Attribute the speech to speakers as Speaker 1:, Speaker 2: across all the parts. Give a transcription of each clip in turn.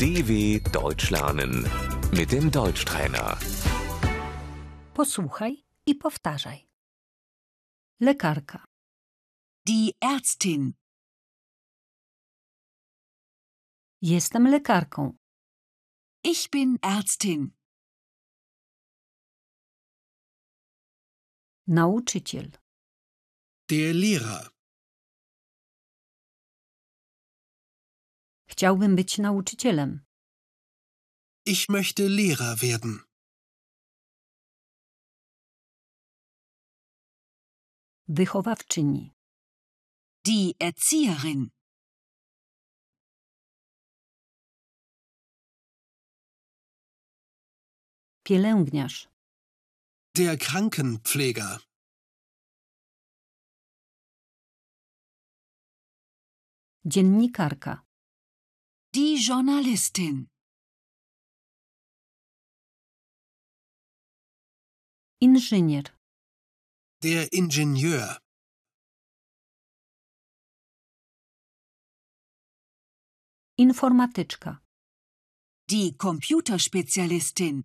Speaker 1: DW Deutsch lernen mit dem Deutschtrainer.
Speaker 2: Posłuchaj i powtarzaj. Lekarka,
Speaker 3: Die Ärztin.
Speaker 2: jestem lekarką.
Speaker 3: Ich bin Ärztin.
Speaker 2: Nauczyciel,
Speaker 4: Der Lehrer.
Speaker 2: chciałbym być nauczycielem.
Speaker 4: Ich möchte Lehrer werden.
Speaker 2: Wychowawczyni,
Speaker 3: Die Erzieherin.
Speaker 2: pielęgniarz,
Speaker 4: Der Krankenpfleger.
Speaker 2: dziennikarka,
Speaker 3: Die Journalistin.
Speaker 2: inżynier,
Speaker 4: Der Ingenieur.
Speaker 2: informatyczka,
Speaker 3: Die Computerspezialistin.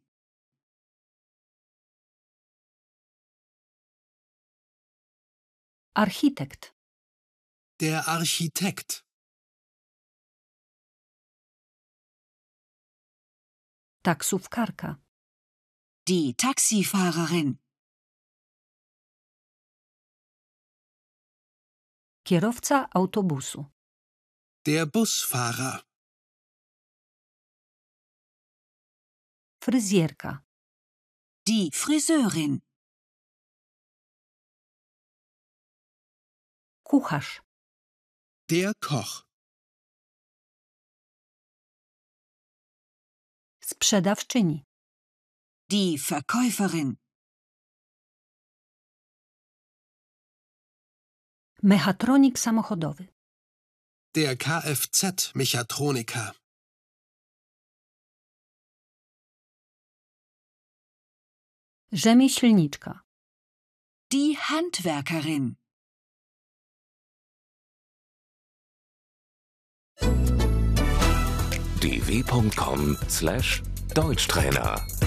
Speaker 2: architekt,
Speaker 4: Der Architekt.
Speaker 2: taksówkarka,
Speaker 3: Die Taxifahrerin.
Speaker 2: kierowca autobusu,
Speaker 4: Der Busfahrer.
Speaker 2: fryzjerka,
Speaker 3: Die Friseurin.
Speaker 2: kucharz,
Speaker 4: Der Koch.
Speaker 2: sprzedawczyni,
Speaker 3: Die Verkäuferin.
Speaker 2: mechatronik samochodowy,
Speaker 4: Der Kfz-Mechatroniker.
Speaker 2: rzemieślniczka,
Speaker 3: Die Handwerkerin.
Speaker 1: dw.com/deutschtrainer